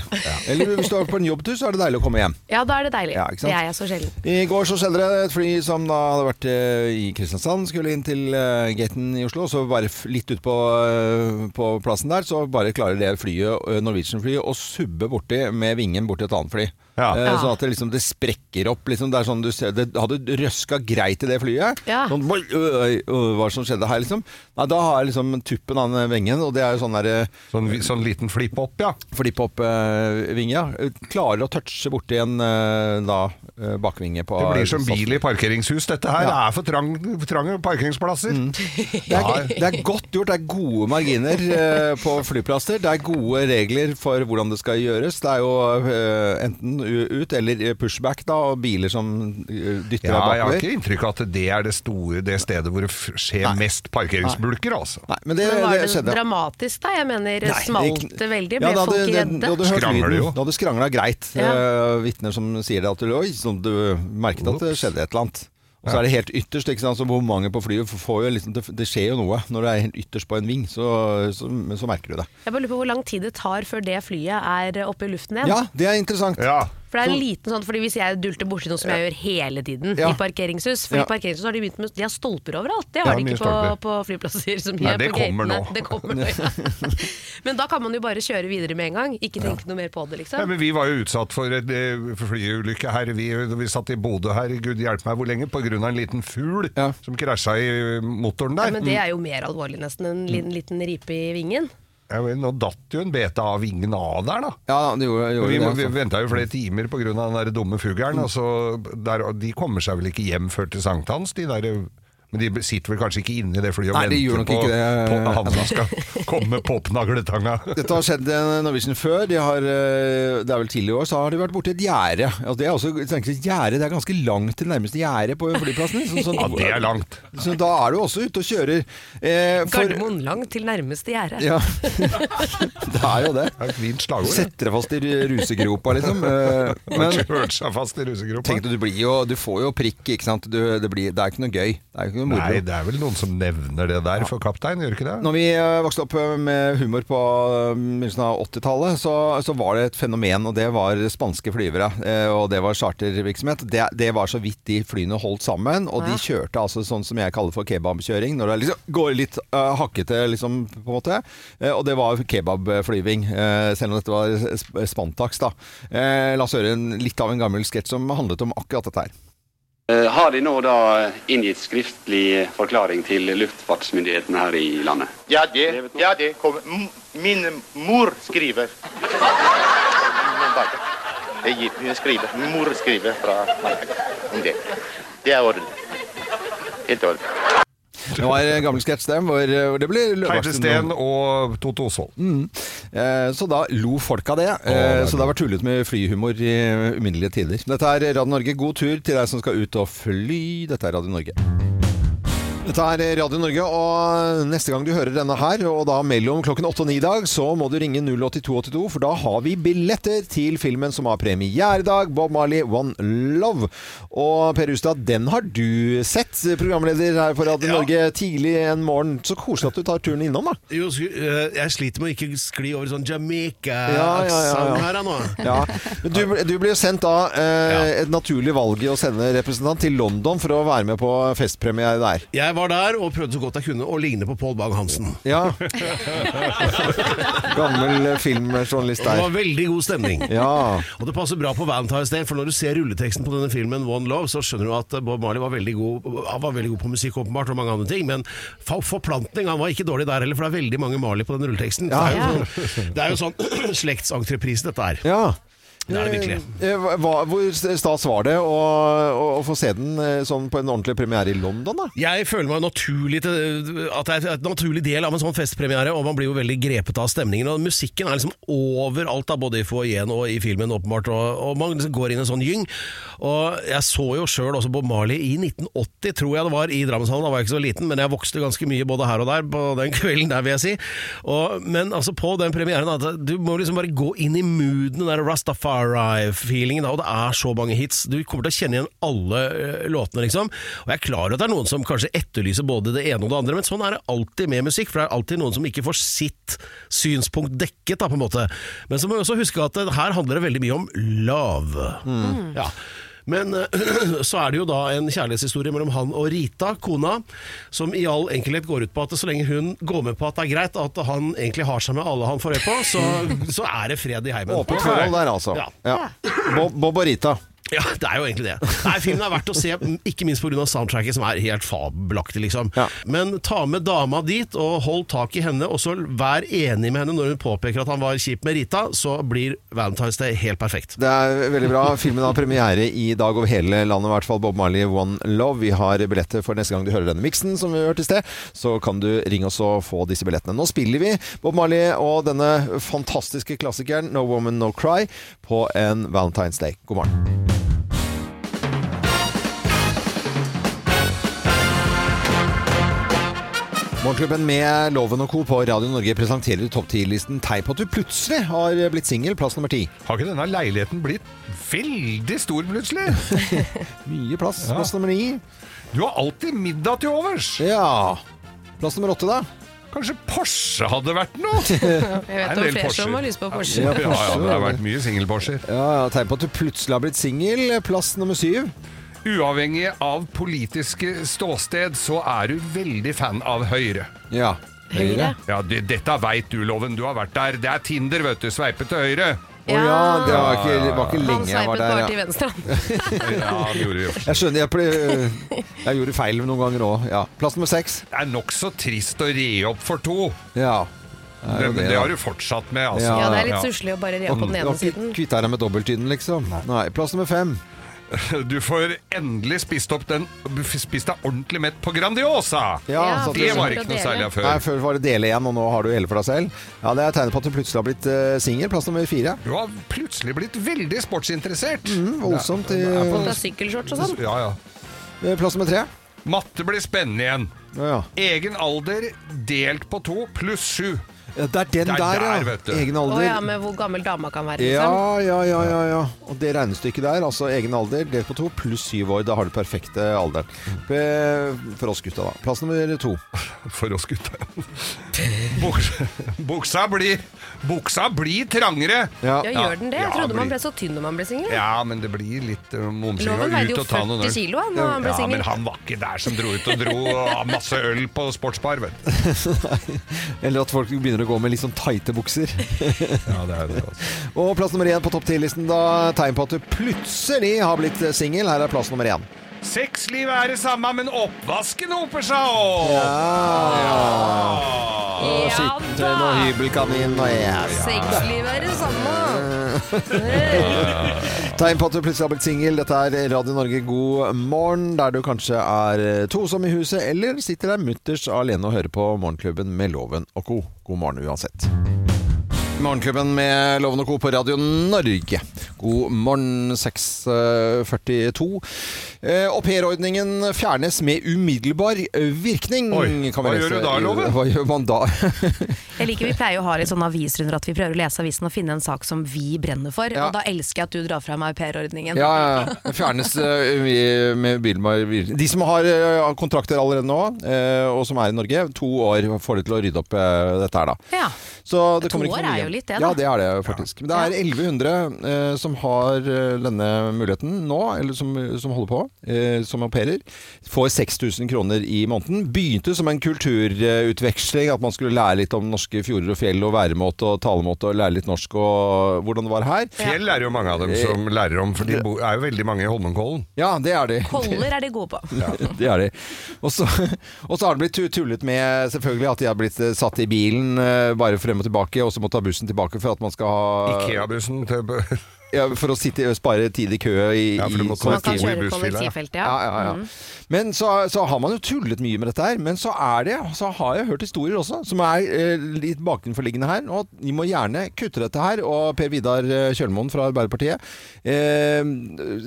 Eller hvis du er på en jobbtur, så er det deilig å komme hjem. Ja, da er det deilig. Ja, ikke sant? det er jeg så sjelden. I går så skjedde det et fly som da hadde vært eh, i Kristiansand, skulle inn til eh, gaten i Oslo. Så bare f- litt ut på, eh, på plassen der, så bare klarer det flyet, eh, Norwegian-flyet å subbe borti med vingen borti et annet fly. Ja. Eh, Sånn at det, liksom, det sprekker opp. Liksom, det, er sånn du ser, det hadde røska greit i det flyet. Ja. Sånn, oi, oi, oi, hva er det som skjedde her, liksom? Nei, da har jeg liksom tuppen av den vingen, og det er jo sånn derre Sånn, vi- sånn liten flipp opp, ja. flippe opp eh, vinge, ja. Klarer å touche borti en eh, da, eh, bakvinge på sånn Det blir som bil i parkeringshus, dette her. Det er for trang- for trange parkeringsplasser. Det er, det er godt gjort. Det er gode marginer eh, på flyplasser. Det er gode regler for hvordan det skal gjøres. Det er jo eh, enten u- ut eller pushback, da, og biler som eh, dytter deg Ja, jeg har bakover. ikke inntrykk av at det er det store det stedet hvor det f- skjer mest parkeringsbulker, altså. Nei, men det, Men var det det skjedde. dramatisk da? Jeg mener, Nei, smalt det veldig? Ble da hadde- folk det- Da redde? hadde du hørt Skrangler jo. lyden. Da hadde du skrangla greit. Ja. Eh, vitner som sier det at du, oi, sånn, du merket at det Ops. skjedde et eller annet. Og så Ja. er det helt ytterst, ikke sant? så hvor mange på flyet får jo liksom, det, det skjer jo noe. Når du er helt ytterst på en ving, så, så, men så merker du det. Jeg bare lurer på hvor lang tid det tar før det flyet er oppe i luften igjen. Ja, det er interessant. Ja. For det er en liten sånn, fordi Hvis jeg dulter borti noe som jeg gjør hele tiden Ja. i parkeringshus For Ja. i parkeringshus har de begynt med De har stolper overalt. Det har Ja, de mye ikke på, stolper. på flyplasser. Som de Nei, er det på kommer gatene. nå. Det kommer nå ja. Men da kan man jo bare kjøre videre med en gang. Ikke tenke noe mer på det, Ja, liksom. men vi var jo utsatt for en eh, flyulykke her. Vi, vi satt i Bodø her, gud hjelpe meg hvor lenge, på grunn av en liten fugl Ja. som krasja i motoren Ja, der. Mm. men det er jo mer alvorlig nesten enn en liten, liten ripe i vingen. Ja, men nå datt jo en bete av vingen av der, da. Ja, det gjorde, gjorde Vi, det. må- vi altså. venta jo flere timer pga. den der dumme fuglen. og så der- og de kommer seg vel ikke hjem før til sankthans, de der men de sitter vel kanskje ikke inne i det flyet og Nei, de gjør venter nok på, ikke det, på at han ennå. skal komme med popnagletanga. Dette har skjedd eh, Norwegian før. De har, eh, det er vel tidligere i år, så har de vært borti et gjerde. Altså, det er også, jeg tenker, et gjerde, det er ganske langt til nærmeste gjerde på flyplassen. Sånn, sånn, Ja, det er langt. Så da er du også ute og kjører. Eh, for, Gardermoen lang til nærmeste gjerde. Ja, det er jo det. Det er et fint Du slagord. det. setter deg fast i rusegropa, liksom. Eh, Men Kjørt seg fast i rusegropa. tenk du, du, blir jo, du får jo prikk, ikke sant. Du, det, blir, det er ikke noe gøy. Det er jo ikke noe Nei, moro. det er vel noen som nevner det der for kaptein, gjør ikke det? Når vi eh, vokste opp eh, med humor på eh, begynnelsen av 80-tallet, så, så var det et fenomen, og det var spanske flyvere. eh, Og det var chartervirksomhet. Det, det var så vidt de flyene holdt sammen, og de kjørte altså sånn som jeg kaller for kebabkjøring, når det er liksom går litt eh, hakkete, liksom, på en måte. Eh, Og det var kebabflyving, eh, selv om dette var sp- spantax, da. Eh, La oss høre en, litt av en gammel sketsj som handlet om akkurat dette her. Eh, Har de nå da inngitt skriftlig forklaring til luftfartsmyndighetene her i landet? Ja, det, ja, det kommer. M- Min mor skriver. Jeg gir, hun skriver. Min mor skriver fra Malaga om det. Det er orden. Helt orden. Det var en gammel sketsj, det, hvor eh, hvor det ble Teite Steen og Toto Osvold. Eh, Så da lo folk av det. Eh, Så det har vært tullet med flyhumor i uminnelige tider. Dette er Radio Norge. God tur til deg som skal ut og fly. Dette er Radio Norge. Dette er Radio Norge, og neste gang du hører denne her, og da mellom klokken 8 og 9 i dag, så må du ringe 08282, for da har vi billetter til filmen som har premieredag, Bob Marley, One Love. Og Per Ustad, den har du sett, programleder her for Radio Norge, tidlig en morgen. Så koselig at du tar turen innom, da. Jo, sku- eh, jeg sliter med å ikke skli over sånn Ja, ja, ja, ja. Jamaica-aksent her da, nå. Ja. Men du, ble- du ble jo sendt da eh, et naturlig valg i å sende representant til London for å være med på festpremiere der. Jeg var der og prøvde så godt jeg kunne å ligne på Pål Bang-Hansen. Ja. Gammel eh, filmjournalist Det der. var veldig god stemning. Ja. Og det passer bra på Valentine's Day, for når du ser rulleteksten på denne filmen One Love, så skjønner du at Bob Marley var veldig god, han var veldig god på musikk åpenbart og mange andre ting, men fa- forplantning Han var ikke dårlig der heller, for det er veldig mange Marley på den rulleteksten. Ja. Det, er jo sånn, det er jo sånn slektsentreprise, dette her. ja. Det er det virkelig. Eh, hva- hvor stas var det å, å, å få se den eh, sånn på en ordentlig premiere i London, da? Jeg føler meg naturlig til, at det er et naturlig del av en sånn festpremiere, og man blir jo veldig grepet av stemningen. Og musikken er liksom overalt, da, både i foajeen og i filmen, åpenbart. Og, og man liksom går inn i en sånn gyng. Og jeg så jo sjøl også Bob Marley i 1980, tror jeg det var, i Drammenshallen. Da var jeg ikke så liten, men jeg vokste ganske mye både her og der på den kvelden der, vil jeg si. Og, men altså på den premieren, da, at du må liksom bare gå inn i mooden, den der Rastafari Rastafari-feelingen, da, og det er så mange hits. Du kommer til å kjenne igjen alle eh, låtene, liksom. Og jeg er klar over at det er noen som kanskje etterlyser både det ene og det andre, men sånn er det alltid med musikk, for det er alltid noen som ikke får sitt synspunkt dekket, da, på en måte. Men så må vi også huske at eh, her handler det veldig mye om love. Mm. Ja. Men eh, så er det jo da en kjærlighetshistorie mellom han og Rita, kona, som i all enkelhet går ut på at så lenge hun går med på at det er greit at han egentlig har seg med alle han får øye på, så, så er det fred i heimen. Åpent forhold der, altså. Ja. Ja. Bob, Bob og Rita. Ja, det er jo egentlig det. Nei, Filmen er verdt å se, ikke minst pga. soundtracket, som er helt fabelaktig. Liksom. Men ta med dama dit, og hold tak i henne, og så vær enig med henne når hun påpeker at han var kjip med Rita, så blir Valentine's Day helt perfekt. Det er veldig bra. Filmen har premiere i dag over hele landet, i hvert fall Bob Marley One Love. Vi har billetter for neste gang du hører denne miksen som vi hørte i sted. Så kan du ringe oss og få disse billettene. Nå spiller vi Bob Marley og denne fantastiske klassikeren No Woman No Cry på en Valentine's Day. God morgen. Morgenklubben med Loven og Co. på Radio Norge presenterer topp 10-listen tegn på at du plutselig har blitt singel, plass nummer ti. Har ikke denne leiligheten blitt veldig stor plutselig? Mye plass. Plass nummer ni. Du har alltid middag til overs. Ja. Plass nummer åtte, da? Kanskje Porsche hadde vært noe? Jeg vet Det er en om flere del som Porscher. har lyst på Porsche. Ja, ja, ja, det har vært mye singelporscher. Ja, ja, tegn på at du plutselig har blitt singel, plass nummer syv. Uavhengig av politiske ståsted, så er du veldig fan av Høyre. Ja. Høyre? Ja, det, dette veit du, Loven. Du har vært der. Det er Tinder, vet du. Sveipe til høyre. Å ja, det var ikke, det var ikke lenge jeg var der. Ja. venstre. Ja, det gjorde vi jo. Jeg skjønner, jeg, ble, jeg gjorde feil noen ganger òg. Ja. Plass nummer seks. Det er nokså trist å re opp for to. Ja. Det, jo det, det, da. har du fortsatt med, altså. Ja, det er litt susselig å bare re opp Mm. på den ene siden. Kvitta deg med dobbelttyden, liksom. Nei. Plass nummer fem. Du får endelig spist opp den Spist deg ordentlig mett på Grandiosa! Ja, sånn at det du- var ikke noe særlig av før. Nei, før var det dele igjen, og nå har du hele for deg selv. Ja, Det er tegnet på at du plutselig har blitt uh, singel. Plass nummer fire. Du har plutselig blitt veldig sportsinteressert. Mm, voldsomt i- Det er på- Fått deg sykkelshorts og sånn. Ja, ja. Eh, Plass nummer tre. Matte blir spennende igjen. Ja, ja. Egen alder delt på to pluss sju. Ja, Det er den Det er der, ja. der, vet du. Egen alder. Å ja, med hvor gammel dama kan være, liksom. Ja, ja, ja, ja, ja. Og det regnestykket der, altså egen alder delt på to pluss syv år. Da har du perfekte alderen. Be- For oss gutta, da. Plass nummer to. For oss gutta. Buksa, buksa, blir, buksa blir trangere. Ja, gjør den det? Jeg trodde man ble så tynn når man ble singel. Ja, men det blir litt uh, momsing. Loven og ut veide jo og ta noen 40 øl. kilo, han, da han ble ja, singel. Men han var ikke der som dro ut og dro og ha masse øl på sportsbar, vet du. Eller at folk begynner å gå med litt sånn tighte bukser. Ja, det altså. er det også. Og plass nummer én på topp ti-listen, da tegn på at du plutselig har blitt eh, singel. Her er plass nummer én. Sexlivet er det samme, men oppvasken hoper seg opp! Ja. Ja. Skitten Ah. og hybelkanin og yes. Sexlivet er det samme. Tegn på at du plutselig har blitt singel. Dette er Radio Norge god morgen, der du kanskje er tosom i huset, eller sitter der mutters alene og hører på Morgenklubben med Loven og co. God morgen uansett. Morgenklubben med Loven og Co. på Radio Norge. God morgen 6.42. Eh, Aupairordningen fjernes med umiddelbar virkning. Oi, kan vi hva lese. gjør du da, Loven? Hva gjør man da? Jeg liker Vi pleier jo å ha litt sånne avisrunder at vi prøver å lese avisen og finne en sak som vi brenner for. Og da elsker jeg at du drar fram aupairordningen. Ja, ja, ja. Fjernes eh, med bilmar... De som har eh, kontrakter allerede nå, eh, og som er i Norge, to år får de til å rydde opp eh, dette her, da. Ja. Så det To kommer ikke år noe er mye. jo litt det, da. Ja, det er det faktisk. Men det er 1100 eh, som har eh, denne muligheten nå, eller som, som holder på, eh, som au pairer. Får 6000 kroner i måneden. Begynte som en kulturutveksling, at man skulle lære litt om norske fjorder og fjell og væremåte og talemåte, og lære litt norsk og hvordan det var her. Fjell er jo mange av dem som lærer om, for de bo- er jo veldig mange i Holmenkollen. Ja, det er det. Koller er de gode på. det er de. Og så, og så har det blitt tu- tullet med selvfølgelig at de har blitt eh, satt i bilen eh, bare frem og tilbake, og så må ta bussen tilbake for at man skal ha Ikea-bussen til ja, For å sitte, spare tid i kø i, Ja, for du i må kollektiv- Man kan kjøre kollektivfeltet, kollektivfeltet, ja. ja. ja, ja, ja. Mhm. Men så, så har man jo tullet mye med dette her. Men så er det, så har jeg hørt historier også, som er eh, litt bakenforliggende her. Og de må gjerne kutte dette her. Og Per Vidar eh, Kjølmoen fra Arbeiderpartiet eh,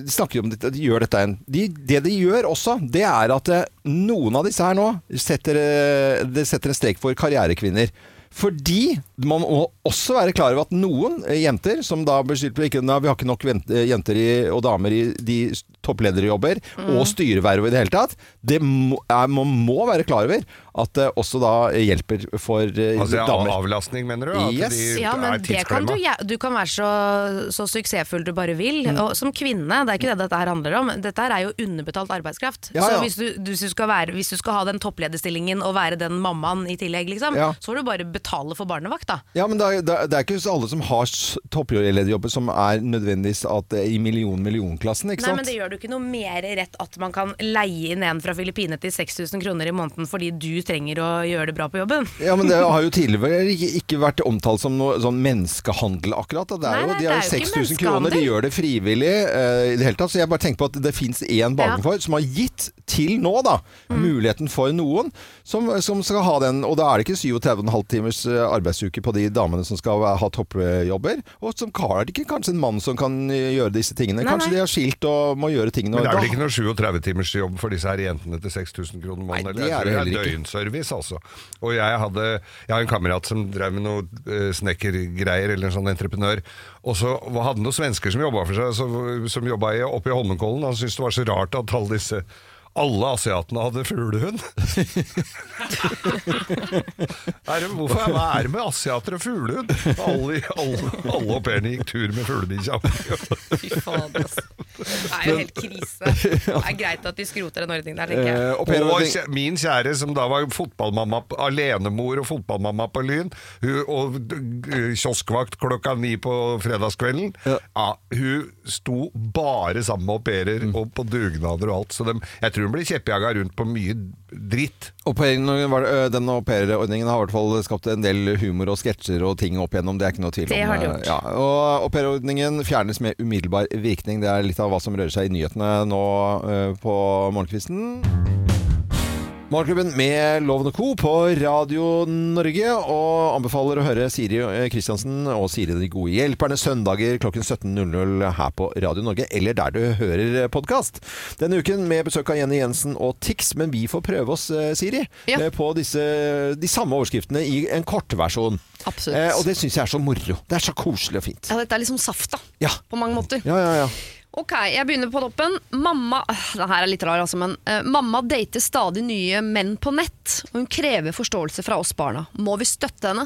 snakker jo om dette, de gjør dette igjen. De, det de gjør også, det er at eh, noen av disse her nå setter, eh, det setter en strek for karrierekvinner. Fordi man må også være klar over at noen eh, jenter, som da blir skyldt på ikke, nei, vi har ikke nok vent- eh, jenter i, og damer i de s- topplederjobber Mm. og styreverv i det hele tatt, det må, er, man må være klar over at det også da hjelper for eh, Altså av- damer. avlastning, mener du? At de ja, er men det kan tidsklemma? du, gjæ- du kan være så, så suksessfull du bare vil. Og som kvinne, det er ikke det dette her handler om. Dette her er jo underbetalt arbeidskraft. Ja, ja. Så hvis du, du, hvis du skal være, hvis du skal ha den topplederstillingen og være den mammaen i tillegg, liksom, Ja. så får du bare betale for barnevakt, da. Ja, men det er, det er- det er ikke alle som har s- topplederjobber som er nødvendigvis at det er i million-millionklassen, ikke Nei, sant? men Det gjør du ikke noe mer rett at man kan leie inn en fra Filippinene til 6000 kroner i måneden fordi du trenger å gjøre det bra på jobben. Ja, men det har jo tidligere ikke, ikke vært omtalt som noe sånn menneskehandel akkurat. da. Det er Nei, jo, nei, de har det jo er jo ikke 6000 kroner, de menneskehandel. gjør det frivillig eh, i det hele tatt. Så jeg bare tenker på at det fins én bakenfor som har gitt til nå, da, Mm. muligheten for noen som, som skal ha den. Og da er det ikke 37,5 timers eh, arbeidsuke på de damene som skal ha toppjobber. Og som har det ikke kanskje en mann som kan eh, gjøre disse tingene. Nei, kanskje nei. de har skilt og må gjøre tingene. Men det er og vel da- ikke noe 37-timersjobb for disse her jentene til 6000 kroner måneden? eller? det er Jeg tror det det er heller ikke. døgnservice, altså. Og jeg, hadde, jeg har en kamerat som drev med noe eh, snekkergreier, eller en sånn entreprenør. Og så var- hadde han noen svensker som jobba for seg, som, som jobba i- oppe i Holmenkollen. Han syntes det var så rart at alle disse alle asiatene hadde fuglehund. Er det- Hvorfor er- hva er det med asiater og fuglehund? Alle, alle, alle au pairene gikk tur med fuglebikkja. Fy fader, Det er jo helt krise. Det er greit at de skroter den ordningen der, tenker jeg. Eh, og kjæ- min kjære, som da var fotballmamma, p- alenemor og fotballmamma på Lyn, hun, og d- g- kioskvakt klokka ni på fredagskvelden, ja. hun sto bare sammen med au pairer og på dugnader og alt. Så dem, jeg tror hun ble kjeppjaga rundt på mye dritt. Au pairen var- ø, Den aupairordningen har i hvert fall skapt en del humor og sketsjer og ting opp igjennom. Det er ikke noe tvil om. øh, Det har det gjort. Ja, og aupairordningen fjernes med umiddelbar virkning. Det er litt av hva som rører seg i nyhetene nå ø, på morgenkvisten. Morgenklubben med Loven og Co. på Radio Norge, og anbefaler å høre Siri eh, Kristiansen og Siri De gode hjelperne søndager klokken 17.00 her på Radio Norge, eller der du hører podkast. Denne uken med besøk av Jenny Jensen og Tix, men vi får prøve oss, eh, Siri, eh, på disse, de samme overskriftene i en kortversjon. Absolutt. Eh, og det syns jeg er så moro. Det er så koselig og fint. Ja, dette er liksom saft, da. Ja. På mange måter. Ja, ja, ja. Ok, jeg begynner på toppen. Mamma øh, det her er litt rar, altså, men eh, mamma dater stadig nye menn på nett. Og hun krever forståelse fra oss barna. Må vi støtte henne?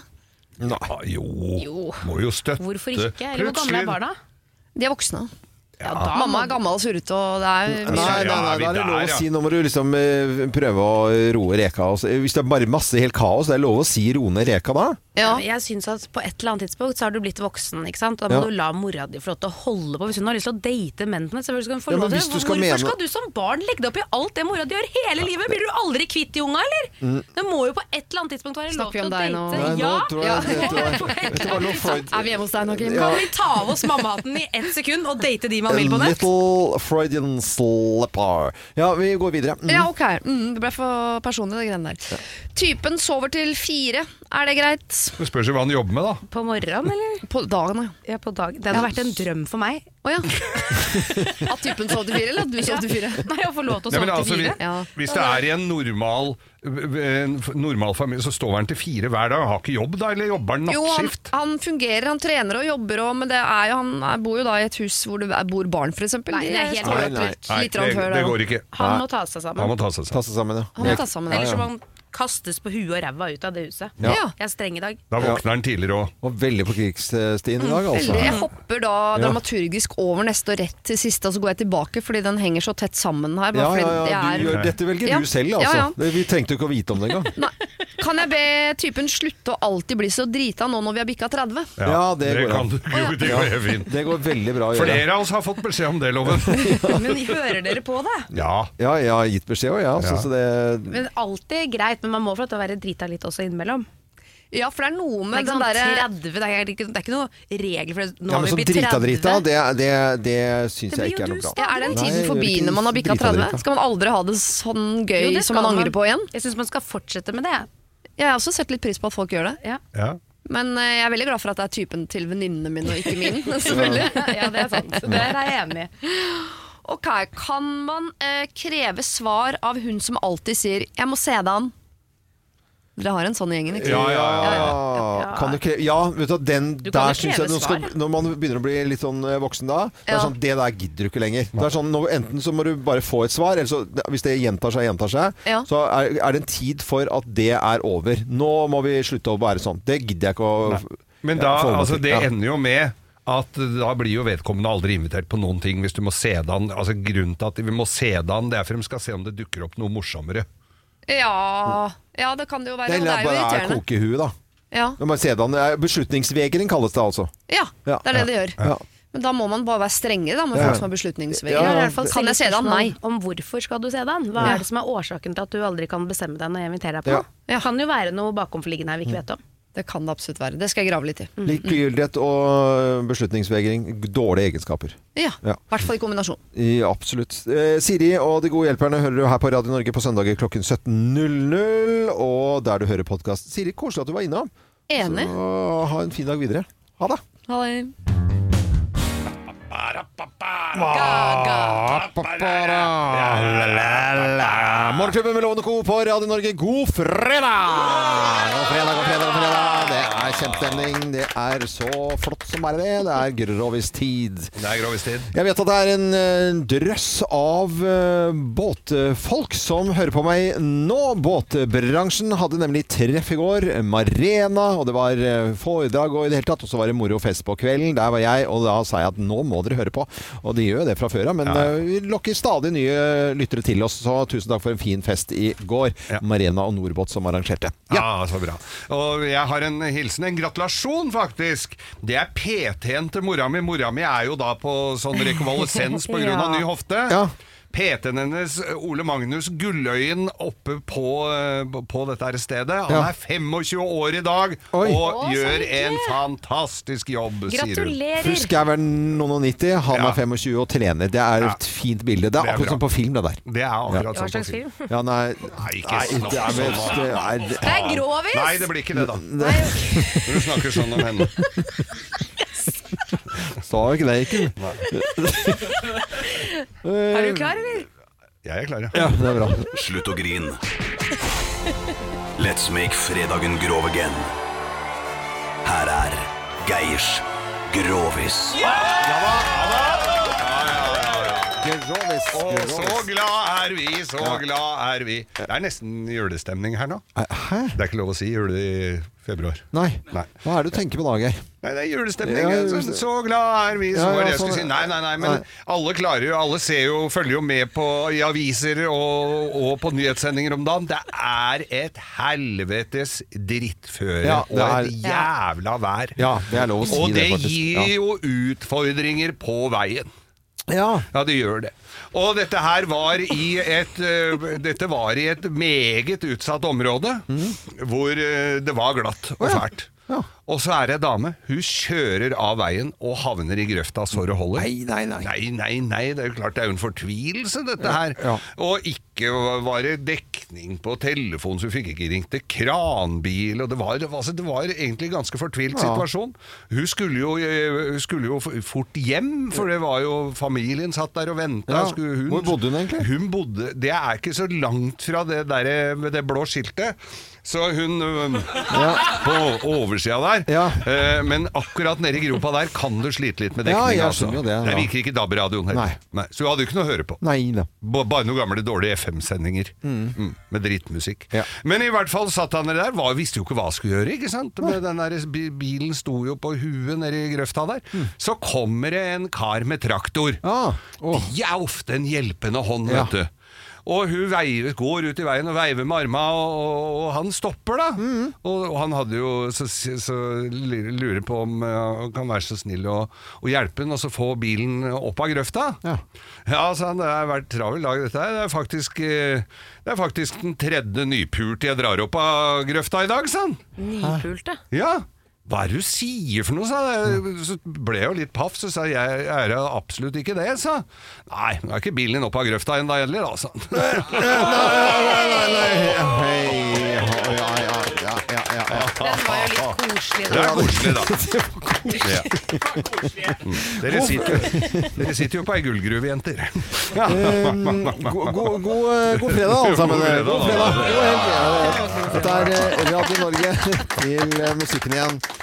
Nei, jo. Jo. Må jo støtte. Plutselig- De er voksne. da mamma er gammel og surrete, og det er Nei, nei, nei, da er det lov å si Nå må du liksom eh, prøve å roe reka. og så- Hvis det er bare masse helt kaos, det er lov å si roe ned reka da? Jeg synes at På et eller annet tidspunkt så har du blitt voksen. ikke sant? Da må Ja. du la mora di få lov til å holde på. Hvis hun har lyst til å date mennene, selvfølgelig skal hun få Ja, men lov til hvis du det. skal Hvorfor mene- skal du som barn legge deg opp i alt det mora di gjør hele livet? Blir du aldri kvitt de unga, eller? Mm. Det må jo på et eller annet tidspunkt være lov til Snakker vi å om deg date. nå? Nei, nå tror jeg- Ja. dette var- dette var noe Freud- Er vi hjemme hos deg nå, Kim? Ja. Kan vi ta av oss mammahatten i ett sekund og date de man vil på nett? Little Freudian slipper. Ja, vi går videre. Mm. Ja, ok. Mm, det ble for personlig, det greiene der. Typen sover til fire. Er det greit? Det spørs jo hva han jobber med, da. På morgenen, eller? På dagen, ja. på dag. Det hadde vært en drøm for meg. Å ja. At typen sov til fire, eller at du sov til fire? Nei, å få lov til å Nei, sove men altså, til fire. vi- Hvis det er i en normal, en f- normal familie, så står han til fire hver dag. Han har ikke jobb da, eller jobber han Jo, han, nattskift? han fungerer, han trener og jobber og, Men det er jo, han er, bor jo da i et hus hvor det er, bor barn for eksempel Nei, det er helt Nei, klart. nei. Litt, litt det, rann før det da. går ikke. Han må ta seg sammen. Han må ta seg sammen. ja. Han må ta seg sammen, ja. Eller så må han kastes på huet og ræva ut av det huset. Ja. Jeg er streng i dag. Da våkner han tidligere òg. Og veldig på krigsstien i dag, altså. Mm, Veldig. Jeg hopper da Ja. dramaturgisk over neste og rett til siste Og så går jeg tilbake fordi den henger så tett sammen her bare Ja, ja, fordi ja, det du er- gjør, dette velger Ja. du selv, altså. Ja, ja. Det- Vi trengte jo ikke å vite om det engang. Kan jeg be typen slutte å alltid bli så drita nå når vi har bikka 30? Ja, det, det går kan an. du. Jo, det går helt fint. Det går veldig bra å gjøre. Flere av oss har fått beskjed om det, Loven. Men hører dere på det? Ja. ja, jeg har gitt beskjed òg, jeg. altså, Ja. Så det Men alltid greit, men man må få lov til å være drita litt også innimellom. Ja, for det er noe med den derre- Det er ikke, det er ikke noe regel for det. Nå ja, har men vi sånn blitt 30. drita-drita, det, det, det syns jeg ikke er noe bra. ja, Er den Nei, tiden jeg gjør forbi ikke når man har bikka drita-drita. 30? Skal man aldri ha det sånn gøy Jo, det som man skal man. angrer på igjen? Jeg syns man skal fortsette med det. Jeg har også sett litt pris på at folk gjør det Ja. Men eh, jeg er veldig glad for at det er typen til venninnene mine og ikke min. selvfølgelig. ja, det er sant. Der er jeg enig. Ok, Kan øh, man eh, kreve svar av hun som alltid sier 'jeg må se deg an'? Dere har en sånn i gjengen, ikke Ja, sant? ja, ja. Kan du kre ja vet du, hva, den Du kan der jo syns kreve jeg når, skal, svar. når man begynner å bli litt sånn eh, voksen da, det er Ja. sånn, det der gidder du ikke lenger. Det er sånn, nå, Enten så må du bare få et svar, eller så, hvis det gjentar seg, gjentar seg, Ja. så er, er det en tid for at det er over. Nå må vi slutte å være sånn. Det gidder jeg ikke å Men ja, da, forholde meg altså, til. det Ja. ender jo med at da blir jo vedkommende aldri invitert på noen ting hvis du må se det an. Altså, grunnen til at vi må se det an, det er for de skal se om det dukker opp noe morsommere. Ja, ja, det kan det jo være. Det og er Det er jo bare er irriterende. kokehue, da. Ja. Men bare se det an. Det er Beslutningsvegring kalles det altså. ja, Ja. det er det det gjør. Ja. Men da må man bare være strengere da, med Ja. folk som har beslutningsvegring. Ja, I ja. hvert fall Kan jeg se det an? Spørsmål Nei. Om hvorfor skal du se det an? Hva Ja. er det som er årsaken til at du aldri kan bestemme deg når jeg inviterer deg på Ja. noe? Det kan jo være noe bakomforliggende her vi ikke vet om. Det kan det absolutt være. Det skal jeg grave litt i. Likegyldighet og beslutningsvegring, dårlige egenskaper. Ja, i Ja. hvert fall i kombinasjon. I, absolutt. Eh, Siri og De gode hjelperne hører du her på Radio Norge på søndager klokken 17.00. Og der du hører podkast. Siri, koselig at du var innom. Enig. Så ha en fin dag videre. Ha det. Ha det. Morgenklubben med Lovende Co. på Radio Norge, god fredag! God fredag, god fredag, god fredag. Det er kjempestemning. Det er så flott som bare det. Det er grovis tid. Det er grovis tid. Jeg vet at det er en, eh, drøss av eh, båtfolk som hører på meg nå. Båtbransjen hadde nemlig treff i går. Marena, og det var eh, foredrag og i det hele tatt. Og så var det moro fest på kvelden. Der var jeg, og da sa jeg at nå må dere høre på. Og de gjør jo det fra før av, men eh, vi lokker stadig nye eh, lyttere til oss. Så tusen takk for en fin fest i går. Marena og Norbåt som arrangerte. Ja, så bra. Og jeg har en hilsen, en gratulasjon faktisk. Det er PT-en til mora mi. Mora mi er jo da på sånn rekonvalesens på grunn av Ja. ny hofte. PT-en hennes, Ole Magnus Gulløyen, oppe på, eh, på dette her stedet. Han Ja. er 25 år i dag Oi. og Å, så gjør hyggelig. en fantastisk jobb, sier hun. Husker jeg vel noen og 90. Han er 25 og trener. Det er et fint bilde. Det Det er er akkurat bra. som på film, det der. Det er akkurat Ja. sånn på film. Ja, nei, Nei, ikke nei, snakk det er eh, vel sånn, det da. er, Det er grovis. Nei, det blir ikke det, da. Nei. Når du snakker sånn om henne. Sa jo ikke det, ikke? Er du klar, eller? Jeg er klar, ja. det er bra. Slutt å grine. Let's make fredagen grov again. Her er Geirs Grovis. Å, så glad er vi, så Ja. glad er vi. Det er nesten julestemning her nå. Det er ikke lov å si jule i februar. Nei. Hva er det du tenker på da, Geir? Nei, det er julestemning. Ja, så, julestemning. så glad er vi, så Ja, ja, var det jeg sånn skulle er- si. Nei, nei, nei, men Nei. alle klarer jo, alle ser jo, følger jo med på, i aviser og, og på nyhetssendinger om dagen. Det er et helvetes drittføre Ja, det og et er- jævla vær. Ja, det er lov å si og det, det faktisk. gir Ja. jo utfordringer på veien. Ja. det gjør det. Og dette her var i et, eh, dette var i et meget utsatt område, hvor eh, det var glatt og fælt. Og så er det ei dame. Hun kjører av veien og havner i grøfta så det holder. Nei, nei, nei. Nei, nei, Det er jo klart det er jo en fortvilelse, dette her. Og ikke var det dekning på telefonen, så hun fikk ikke ringt til kranbil. Og det var, det var- altså, det var egentlig en ganske fortvilt Ja. situasjon. Hun skulle, jo, eh, hun skulle jo f- fort hjem, for det var jo familien satt der og venta. Ja. Hvor bodde hun egentlig? Hun bodde, Det er ikke så langt fra det, der, med det blå skiltet. Så hun øhm, På oversida der. Eh, men akkurat nede i gropa der kan du slite litt med Ja, dekning. jeg altså. skjønner jo det, Der ja. virker ikke DAB-radioen heller. Nei. Så hun hadde jo ikke noe å høre på. Nei da. B- Bare noen gamle dårlige FM-sendinger Mm. mm, med drittmusikk. Men i hvert fall satt han der, var, visste jo ikke hva han skulle gjøre. ikke sant? Men Den der bi- bilen sto jo på huet nede i grøfta der. Mm. Så kommer det en kar med traktor. De er ofte en hjelpende hånd, Ja. vet du. Og hun veiver, går ut i veien og veiver med arma, og, og, og han stopper da. Og, og han hadde jo så, så lurer på om eh, han kan være så snill å å hjelpe han, og så få bilen opp av grøfta. Ja, sa han, det har vært travel dag dette her. Det er faktisk, eh, det er faktisk den tredje nypulte jeg drar opp av grøfta i dag, sa han. Nypulte. Ja. Hva er det du sier for noe, sa jeg. Så ble jeg jo litt paff, så sa jeg jeg er jo absolutt ikke det, sa han. Nei, nå er ikke bilen din opp av grøfta ennå, endelig, da, sa han. Hei, hei, hei, ja, ja, ja, ja, ja, ja. Den var jo litt Koselig. koselig, Det da. er koselig, da. Det var koselig. Ja. Mm. Dere, sitter, dere sitter jo på ei gullgruve, jenter. god, god, god, eh, god fredag, alle sammen. God fredag, God fredag. da. God helg. Dette er eh, Radio Norge til eh, musikken igjen.